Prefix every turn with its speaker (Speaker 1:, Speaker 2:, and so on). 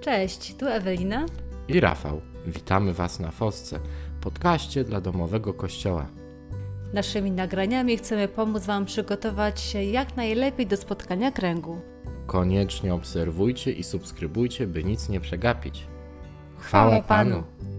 Speaker 1: Cześć, tu Ewelina.
Speaker 2: i Rafał. Witamy Was na Fosce, podcaście dla domowego kościoła.
Speaker 1: Naszymi nagraniami chcemy pomóc Wam przygotować się jak najlepiej do spotkania kręgu.
Speaker 2: Koniecznie obserwujcie i subskrybujcie, by nic nie przegapić.
Speaker 1: Chwała Panu.